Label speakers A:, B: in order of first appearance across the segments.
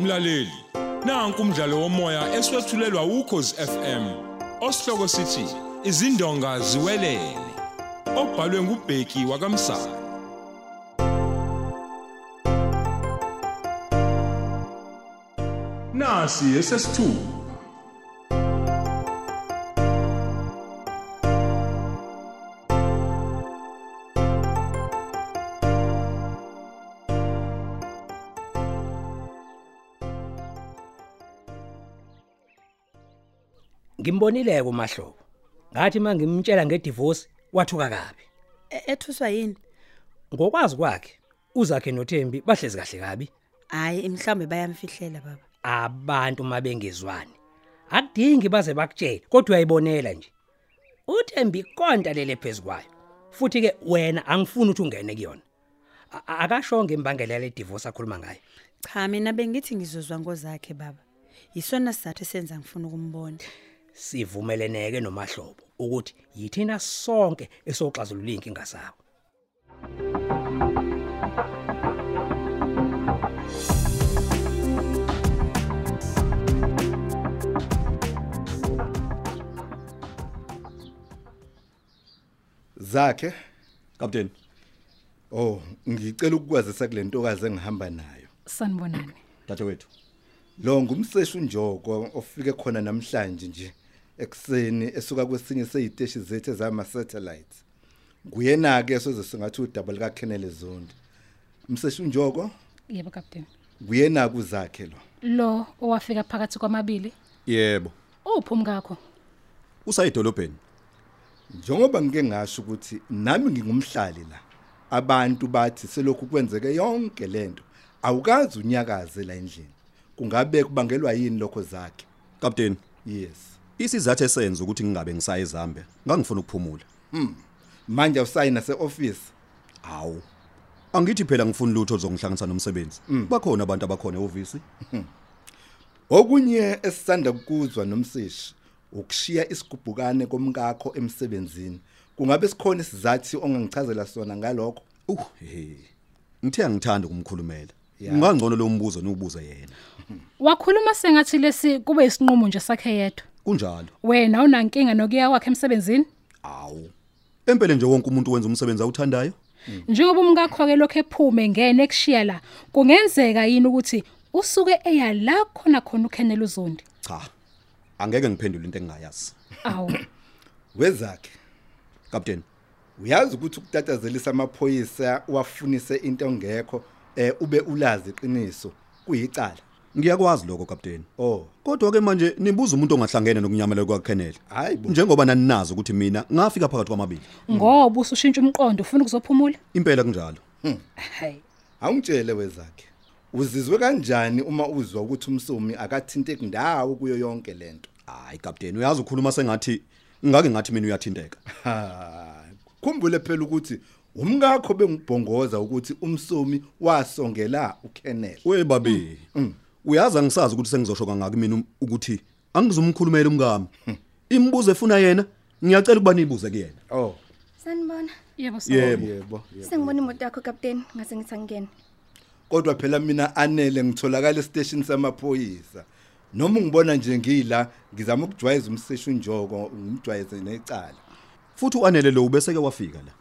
A: Mlaleli, nanku umdlalo womoya eswetshulelwa ukhozi FM. Osihloko sithi izindonga ziwelele. Obhalwe ngubheki wakamsa. Nasi esesithu.
B: Ngimbonile kumahlobo. Ngathi mangimtshela ngedivorce wathuka kabi.
C: E- ethuswa yini
B: Ngokwazi kwakhe uzakhe noThembi bahlezi kahle kabi.
C: hayi mhlawumbe bayamfihlela baba
B: Abantu mabengezwani. Akudingi baze bakutshele kodwa uyayibonela nje. uThembi konta lele phezukwayo. Futhi ke wena angifuni ukuthi ungene kuyona. A- a- Akasho ngembangela le divorce akhuluma ngayo.
C: cha mina bengithi ngizozwa ngozakhe baba yisona sizathu esenza ngifuna ukumbona
B: Sivumeleneke nomahlobo ukuthi yithina sonke esoxazulula inkinga sakho.
D: zakhe
E: Captain,
D: oh ngicela ukukwazisa kule ntokazi engihamba nayo
F: Sanibonani.
E: dadewethu.
D: lo ngumseshi unjoko ofike khona namhlanje nje ekuseni esuka kwesinye seyiteshi zethu ezama satellites nguyena ke soze singathi udouble ka Kenneth Zondi umseshi unjoko
F: Yebo captain.
D: nguyena kuzakhe lo
F: Lo owafika phakathi kwamabili,
E: Yebo.
F: uphum kakho.
E: Usayidolobheni.
D: njengoba ngike ngasho ukuthi nami ngingumhlali la abantu bathi selokhu kwenzeke yonke lento awukazi unyakaze la endlini kungabe kubangelwa yini lokho zakhe
E: Captain,
D: yes
E: isizathu esenza ukuthi ngingabe ngisaye ezambe, ngangifuna ukuphumula.
D: manje usayina seoffice
E: Hawu. Angithi phela ngifuni lutho ozongihlanganisa nomsebenzi.
D: Mm.
E: Bakhona abantu abakhona ehovisi.
D: okunye esisanda kukuzwa nomsishi ukushiya isigubhukane komkakho emsebenzini kungabe sikhona isizathi ongangichazela sona ngalokho
E: Uh, he. Ngithe angithanda ukumkhulumela. Ngangcono lo mbuzo niwubuze yena.
F: Wakhuluma sengathi lesi kube isinqumo nje sakhe yedwa.
E: Kunjalo.
F: Wena unankinga nokuya kwakhe emsebenzini?
E: Hawu. Empele nje wonke umuntu wenza umsebenzi awuthandayo.
F: Njengoba umkakho ke lokho ephume ngene ekushiya la, kungenzeka yini ukuthi usuke eya la khona khona uKenneth uzondi?
E: Cha. Angeke ngiphendule into engingayazi.
F: Awu.
D: wezakhe
E: Captain,
D: uyazi ukuthi ukutatazelisa amaphoyisa wafunise into engekho eh ube ulazi iqiniso kuyicala
E: ngiyakwazi lokho captain.
D: oh
E: Kodwa ke manje nibuza umuntu ongahlangene nokunyamela kwaKenneth.
D: hayi bo
E: Njengoba naninazi ukuthi mina ngafika phakathi kwamabili.
F: Ngoba usushintsha umqondo ufuna ukuzophumula?
E: Impela kunjalo.
F: Hayi.
D: awungitshele wezakhe uzizwe kanjani uma uzwa ukuthi umsomi akathinte kundawo kuyo yonke lento
E: Hayi captain, uyazi ukhuluma sengathi ngake ngathi mina uyathinteka.
D: Ha, khumbule phela ukuthi umkakho bengibhongoza ukuthi umsomi wasongela uKenneth.
E: We babi. Uyazi angisazi ukuthi sengizosho kangaka mina um- ukuthi angizumkhulumela umkami. Imibuzo efuna yena, ngiyacela ukuba nibuze kuyena.
D: Oh,
G: Sanibona.
F: Yebo
E: Yebo.
F: sawubona.
D: yebo. yebo.
G: Sengibona imoto yakho captain ngase ngithi angene.
D: Kodwa phela mina anele ngitholakala estation samaphoyisa. Noma ungibona nje ngila, ngizama ukujwayeza umseshi unjoko, ngimjwayeze necala.
E: Futhi uanele lo ubeseke wafika la.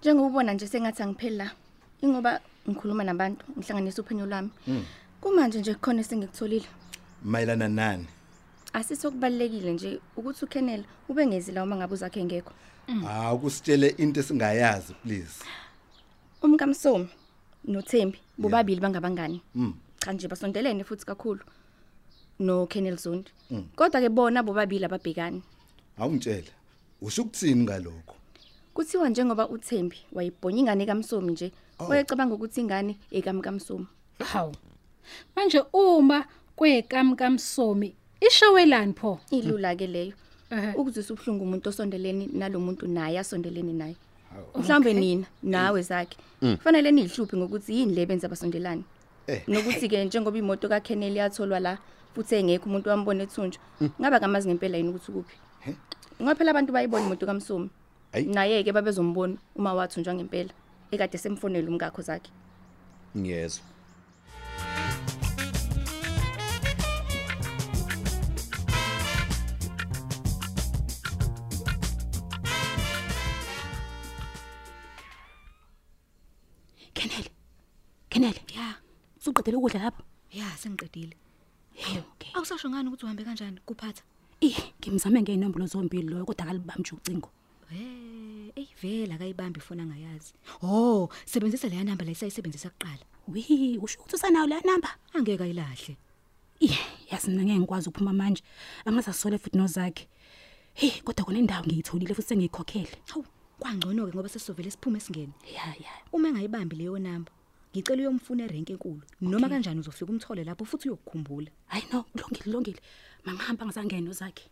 G: Njengoba ubona nje sengathi angipheli la. Ingoba ngikhuluma nabantu, ngihlanganisa uphenyo lwami. Kumanje nje kukhona esingikutholile.
D: Mayelana nani?
G: Asisokubalekile nje ukuthi uKenneth ube ngezi la uma ngabe uzakhe ngekho.
D: Ah, ukusitshele into esingayazi please.
G: Umkamsomi noThembi bobabili bangabangani. Cha nje basondelene futhi kakhulu. No Kenneth Zondi. Kodwa ke bona bobabili ababhekani.
D: Awungitshela. Usho ukuthini ngalokho?
G: Kuthiwa njengoba uThembi wayibhonya ingane kaMsomi nje, wayecabanga ukuthi ingane ekamkamsomi.
F: Hawu. Manje uma kwekamkamsomi ishawelani pho?
G: Ilula ke leyo.
D: Eh.
F: Ehhe.
G: Ukuzisa ubhlungu umuntu osondelene nalomuntu naye asondelene naye. Mhlawumbe nina
D: Mm.
G: nawe zakhe. Kufanele nihluphe ngokuthi yini le benza abasondelane.
D: Eh.
G: Nokuthi ke njengoba imoto kaKenneth yatholwa la futhi engekho umuntu wambona ethunjwa,
D: Mm.
G: ngaba kamazi ngempela yini ukuthi kuphi. Ngoba phela abantu bayibona imoto kaMsomi.
D: Ayi.
G: Naye ke babezombona uma wathunjwa ngempela. Ekade semfonela umkakho zakhe.
E: Ngiyezwa.
H: Kenele. Kenele.
G: ya
H: Usuqedile ukudla lapho?
G: ya sengiqedile
H: Hey, okay.
G: awusasho ngani ukuthi uhambe kanjani kuphatha
H: Eh, ngimzame ngeinombolo zombili loyo kodwa akalibamji ucingo.
G: Eh, eyi vela akayibambi ifoni angayazi. Oh, sebenzisa leya number la isayisebenzisa kuqala.
H: Wi, usho ukuthi usanayo la number?
G: Angeke ayilahle.
H: Eh, yazi mina ngeke ngikwazi ukuphuma manje. Angasasole futhi nozakhe. Hey, kodwa kunendawo ngiyitholile futhi sengiyikhokhele.
G: Hawu, kwangcono ke ngoba sesizovele siphume singene.
H: Ya, ya.
G: Uma engayibambi leyo number, ngicela uyomfuna erenke enkulu. Noma kanjani uzofika umthole lapho futhi uyokukhumbula.
H: Hayi no, kulungile, kulungile. Mangihamba ngizangena nozakhe.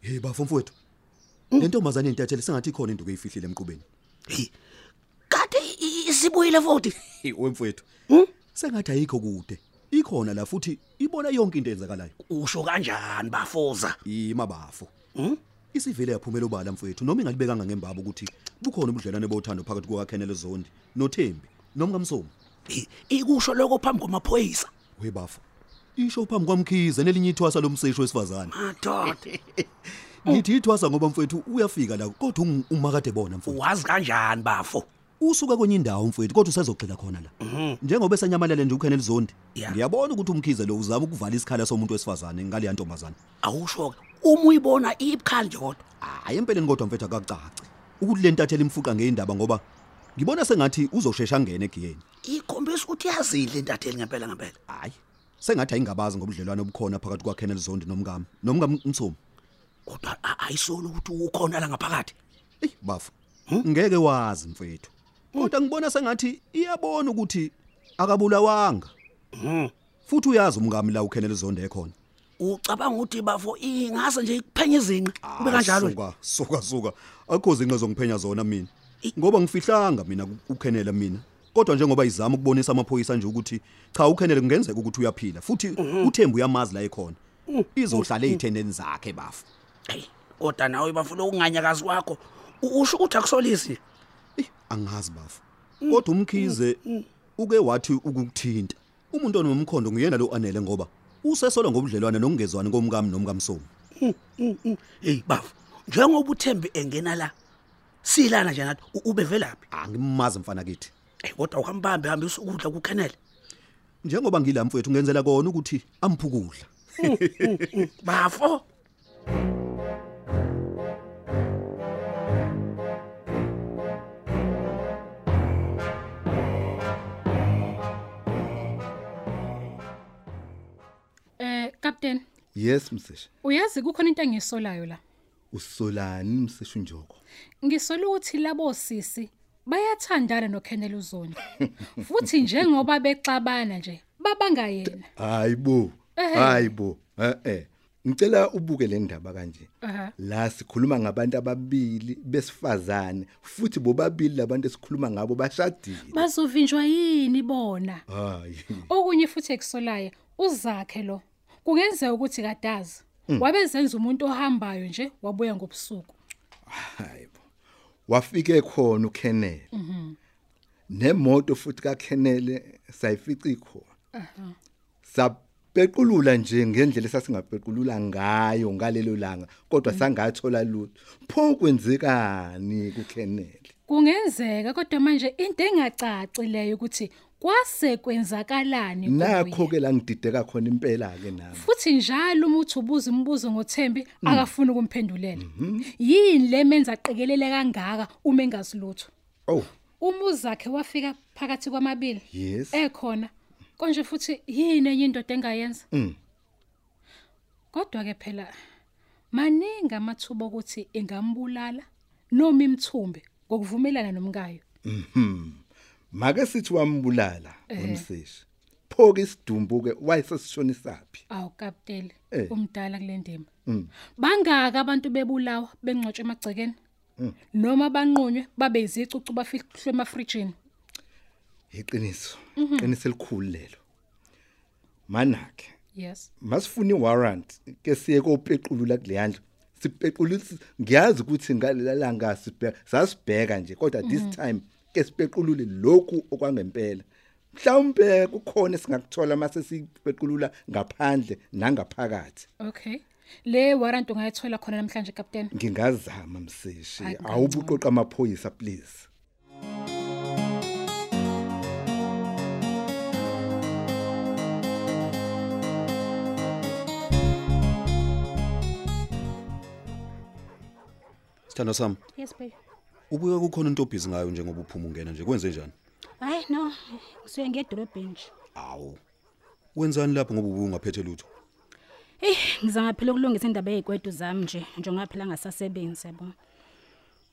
E: hey bafo mfowethu
H: Mm.
E: lentombazane intathele sengathi ikhona into kuyifihlile emqubeni
H: Kade isibuyile futhi. Mm?
E: hey wemfowethu sengathi ayikho kude ikhona la futhi ibona yonke into eyenzakalayo
B: Usho kanjani bafoza?
E: ima bafo isivile yaphumela ubala mfowethu noma ingalibekanga ngembaba ukuthi bukhona ubudlelwane bothando phakathi kukaKhenele Zondi noThembi nomkamsomo
B: Ikusho lokho phambi kwamaphoyisa.
E: webafo isho phambi kwamkhize nelinye ithwasa lomseshi wesifazane
B: Ah, Madoda,
E: ngithi ithwasa ngoba mfowethu uyafika la kodwa um- umakade bona mfowethu
B: uwazi kanjani bafo? Mhm,
E: usuka kwenye indawo mfowethu kodwa usezogxila khona la njengoba esanyamalele nje uKhenel Zondi
B: Ya.
E: ngiyabona ukuthi umkhize lo uzama ukuvala isikhala somuntu wesifazane ngale yantombazana
B: Awusho ke. Uma uyibona ibukhanje kodwa.
E: hayi empeleni kodwa mfethu akacaci ukuthi le ntathela imfuqa ngeindaba ngoba ngibona sengathi uzoshesha ngene egiyeni
B: Ikhombisa ukuthi yazidle intatheli ngempela ngempela.
E: hayi sengathi ayingabazi ngobudlelwano obukhona phakathi kwaKhenel Zondi nomkami nomkami Mtsomo
B: Kodwa a- ayisolo ukuthi ukhona la ngaphakathi.
E: Ey bafu. Ngeke wazi mfethu. Kodwa ngibona sengathi iyabona ukuthi akabulawanga. Futhi uyazi umngami la uKhenele Zonde ekhona.
B: Ucabanga ukuthi bafo ingase nje ikuphenya izinqa kube
E: Ah,
B: kanjalo nje.
E: Suka, suka, suka. Akho izinqe zongiphenya zona mina. Ngoba ngifihlanga mina ku- uKhenele mina. Kodwa njengoba izama ukubonisa amaphoyisa nje ukuthi cha uKhenele kungenzeka ukuthi uyaphila futhi
B: Mhm.
E: uThembu uyamazi la ekhona.
B: Mm,
E: Izohlala ezithendeni zakhe bafu.
B: Hey, kodwa nawe bafuna ukunganyakazi kwakho. U- Usho ukuthi akusolisi.
E: Eh, angazi bafu.
B: Mm,
E: Kodwa umkhize uke wathi ukukuthinta. Umuntu onomkhondo nguyena lo anele ngoba usesolwa ngobudlelwana nokungezwani komkami nomkamsomo.
B: Mm, Hey bafo, njengoba uThembi engena la. Silana nje nathi u- ube velaphi?
E: Angimazi mfana kithi.
B: Hey, kodwa uhambambe hambisa ukudla kuKenneth.
E: Njengoba ngilamfowethu ngenzela kona ukuthi amphukudla.
B: Bafo.
F: Eh captain,
D: Yes msisha.
F: uyazi kukhona into engisolayo la.
D: Usolani msisha uNjoko?
F: Ngisola ukuthi labo sisi bayathandana noKenneth Uzoni. Futhi njengoba bexabana nje babanga yena.
D: Hayibo.
F: Ehhe.
D: Hayibo. Eh eh. Ngicela ubuke le ndaba kanje.
F: Aha.
D: La sikhuluma ngabantu ababili besifazane futhi bobabili labantu esikhuluma ngabo bashadile.
F: Bazovinjwa yini bona?
D: Hayi.
F: Okunye futhi ekusolayo uzakhe lo. Kungenzeka ukuthi kadazi wabezenza umuntu ohambayo nje wabuya ngobusuku.
D: Hayibo. Wafike khona uKenneth. Mhm. Nemoto futhi kaKenneth sayifica ikhona.
F: Aha.
D: Sapequlula nje ngendlela esasingapequlula ngayo ngalelo langa kodwa sangathola lutho. Pho kwenzekani kuKenneth?
F: Kungenzeka kodwa manje into engacaci leyo ukuthi kwase kwenzakalani
D: Nakho ke la ngidideka khona impela ke nami.
F: futhi njalo uma uthi ubuza imibuzo ngoThembi akafuni ukumphendulela yini lemenza aqekelele kangaka uma engasilutho
D: Oh,
F: umuzakhe wafika phakathi kwamabili
D: yes.
F: ekhona konje futhi yini enye indoda engayenza
D: Mm.
F: kodwa ke phela maningi amathuba ukuthi ingambulala noma imthumbe ngokuvumelana nomkayo
D: Make sithi wambulala umseshi. Pho ke isidumbu ke wayesesishonisaphi?
F: awu kapteli
D: Eh. Mm.
F: umdala kule ndima bangaka abantu bebulawa bengcotshwe emagcekeni
D: Mm.
F: noma banqunywe babe izicucu bafihlwe emafrijini
D: Iqiniso. Iqiniso elikhulu lelo. Manake
F: yes
D: masifuna iwarrant ke siye kopequlula kuleyandla. Sipequlisa ngiyazi ukuthi ngalalalanga sibheka sasibheka nje kodwa this time ke sipequlule lokhu okwangempela.
E: mhlawumbe kukhona singakuthola mase sibequlula ngaphandle nangaphakathi
I: Okay. Le warrant ungayithola khona namhlanje captain.
E: ngingazama mseshi
I: Hayi, kancane.
E: awubuqoqa amaphoyisa please
D: Sithando sami,
F: Yes baby.
D: ubuye kukhona into obhizi ngayo njengoba uphuma ungena nje kwenze njani?
F: Hayi no, ngisuye ngedolobheni nje.
D: Awu. Wenzani lapho ngoba ubungaphethe lutho?
F: Hey, ngizange phela ukulungisa indaba yezikwetu zami nje, njengoba phela ngasasebenzi yabo.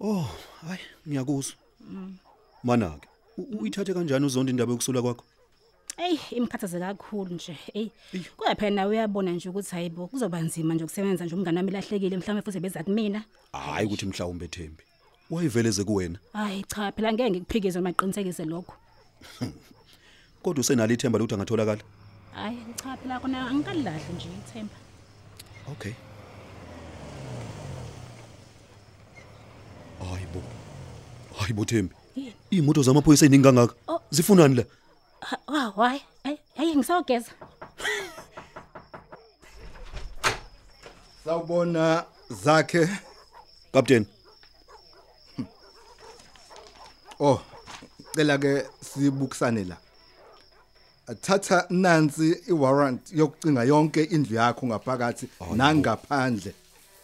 D: Oh, hayi, ngiyakuzwa.
F: Mm.
D: Mana ke, uyithathe kanjani uzonda indaba yokusula kwakho?
F: Ey, imkhathaze kakhulu nje. Ey, kuya phela nawe uyabona nje ukuthi hayibo kuzoba nzima nje ukusebenza nje umngane wami lahlekile mhlawumbe futhi beza kumina.
D: Hayi ukuthi mhlawumbe Thembi. Wayiveleze kuwena,
F: Hayi cha, phela ngeke ngikuphikizwe maqinisekise lokho.
D: kodwa usenalo ithemba lokuthi angatholakala.
F: Hayi cha phela kona angikalahli nje ithemba.
D: Okay. Hayibo. Hayibo Thembi.
F: Yini?
D: Imoto zamaphoyisa eziningi kangaka.
F: Oh.
D: Zifunani la?
F: Ha- Wow, hayi. Hayi, hayi ngisawugeza.
E: sawubona zakhe
D: Captain.
E: oh cela ke sibukisane la athatha nansi iwarrant yokucinga yonke indlu yakho ngaphakathi nangaphandle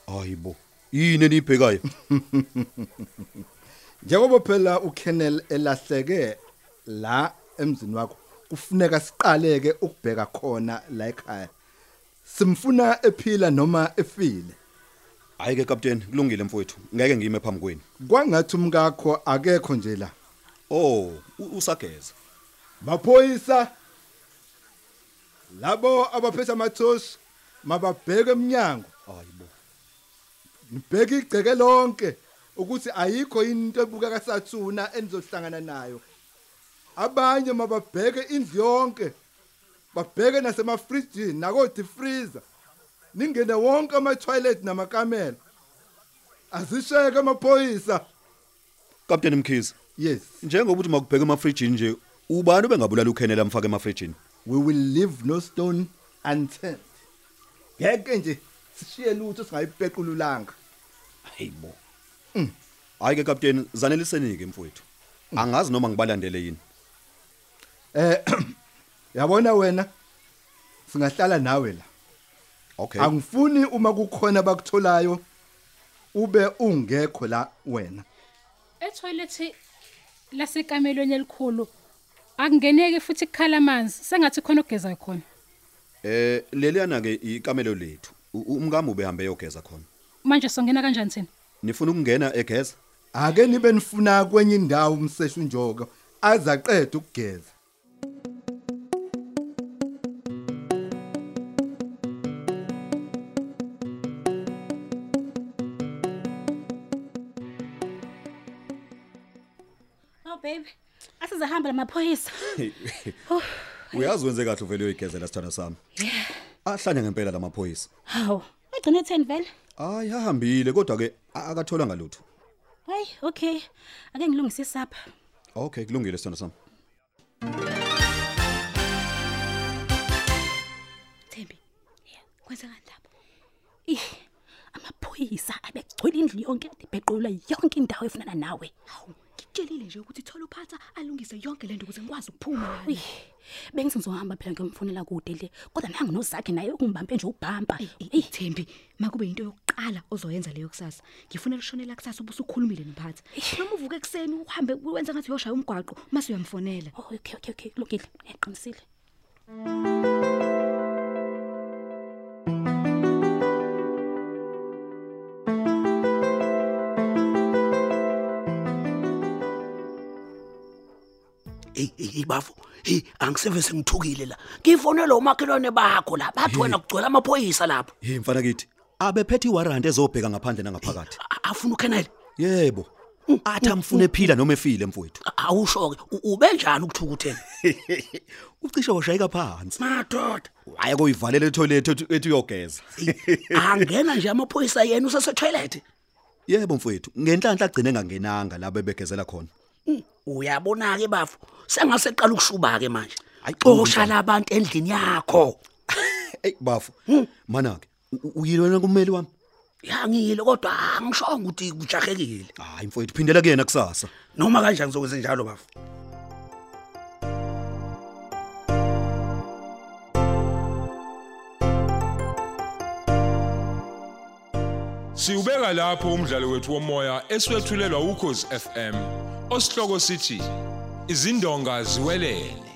D: Hayibo. Yini enibhekayo?
E: njengoba phela uKennel elahleke la emzini wakho kufuneka siqaleke ukubheka khona la ekhaya simfuna ephila noma efile
D: Hayi ke Captain, kulungile mfowethu. Ngeke ngime phambi kweni.
E: kwangathi umkakho akekho nje la
D: Oh, u- usageza.
E: maphoyisa labo abaphethe amathosi mababheke eminyango
D: Hayibo.
E: nibheke igceke lonke ukuthi ayikho into ebukeka sathuna enizohlangana nayo abanye mababheke indlu yonke babheke nasemafrijini nakodifreezer ningene wonke ama-toilet namakamela azisheke amaphoyisa
D: Captain Mkhize,
E: yes
D: njengoba uthi makubheke emafrijini nje, ubani ubengabulala uKhenela amfake emafrijini?
E: we will leave no stone unturned ngeke nje sishiye lutho singayipeqululanga
D: Hayibo. Hayi ke Captain, zanelisenike mfowethu. Angazi noma ngibalandele yini.
E: eh yabona wena singahlala nawe la
D: Okay.
E: angifuni uma kukhona bakutholayo ube ungekho la wena
I: Etoilet lasekamelweni elikhulu akungeneki futhi kukhala amanzi sengathi khona ogeza khona.
D: Eh leliyana ke ikamelo lethu. U- Umkami ubehambe yogeza khona.
I: Manje songena kanjani thina?
D: Nifuna ukungena egeza?
E: ake nibe nifuna kwenye indawo umseshu njoko azaqeda ukugeza
F: Oh baby, asizahamba lamaphoyisa.
D: Uyazi wenze kahle uvele uyigezela sithanda sami. Ahlanya ngempela lamaphoyisa.
F: Hawu, egcine etheni vele?
D: Hayi ahambile kodwa ke a- akathola ngalutho.
F: Hayi, okay. Ake ngilungise isapha.
D: Okay kulungile sithanda sami.
F: Thembi. Kwenze kanjalo. Eh, amaphoyisa abegcwele indlu yonke adibhequla yonke indawo efunana nawe. Hawu,
G: Ngitshelile nje ukuthi thola uphatha alungise yonke lento ukuthi ngikwazi ukuphuma la.
F: uyi. Bengisengizohamba phela ngiyomfonela kude le. Kodwa nangu nozakhe naye ungibambe nje ubhampa. Ey,
G: Thembi, makube into yokuqala ozoyenza leyo kusasa. Ngifuna lishonela kusasa ubusukhulumile nophatha. Noma uvuke ekseni uhambe uwenza ngathi uyoshaya umgwaqo mase uyamfonela.
F: oh, okay, okay, okay. Lokile. Ngiyaqinisile.
B: hey hey bafo hey angiseve sengithukile la ngifonela umakhelwane bakho la bathi wena kugcwele amaphoyisa lapho
D: Hey mfana kithi, abephethe iwarrant ezobheka ngaphandle nangaphakathi.
B: A- afuna uKenneth
D: Yebo. Athi amfune ephila noma efile mfowethu.
B: awusho ke ube njani ukuthuka utheni
D: Ucishe washayeka phansi.
B: madoda
D: Hayi kuyivalela etoilet ethi ethi uyogeza.
B: angena nje amaphoyisa yena usesetoilet
D: Yebo mfowethu, ngenhlanhla agcine engangenanga la bebegezela khona.
B: uyabona-ke bafu sengaseqala ukushuba-ke manje xoshala abantu endlini yakho
E: eyi bafu mana-ke u- u- uyilona kummeli wami
B: yangile kodwa angishongo ukuthi kujahekile
E: hayi mfowethu phindela kuyena kusasa
B: noma kanjani ngizokwenze njalo bafu
A: Siubeka lapho umdlalo wethu womoya eswetshulelwa ukhozi FM. Osihloko sithi izindonga ziwelele.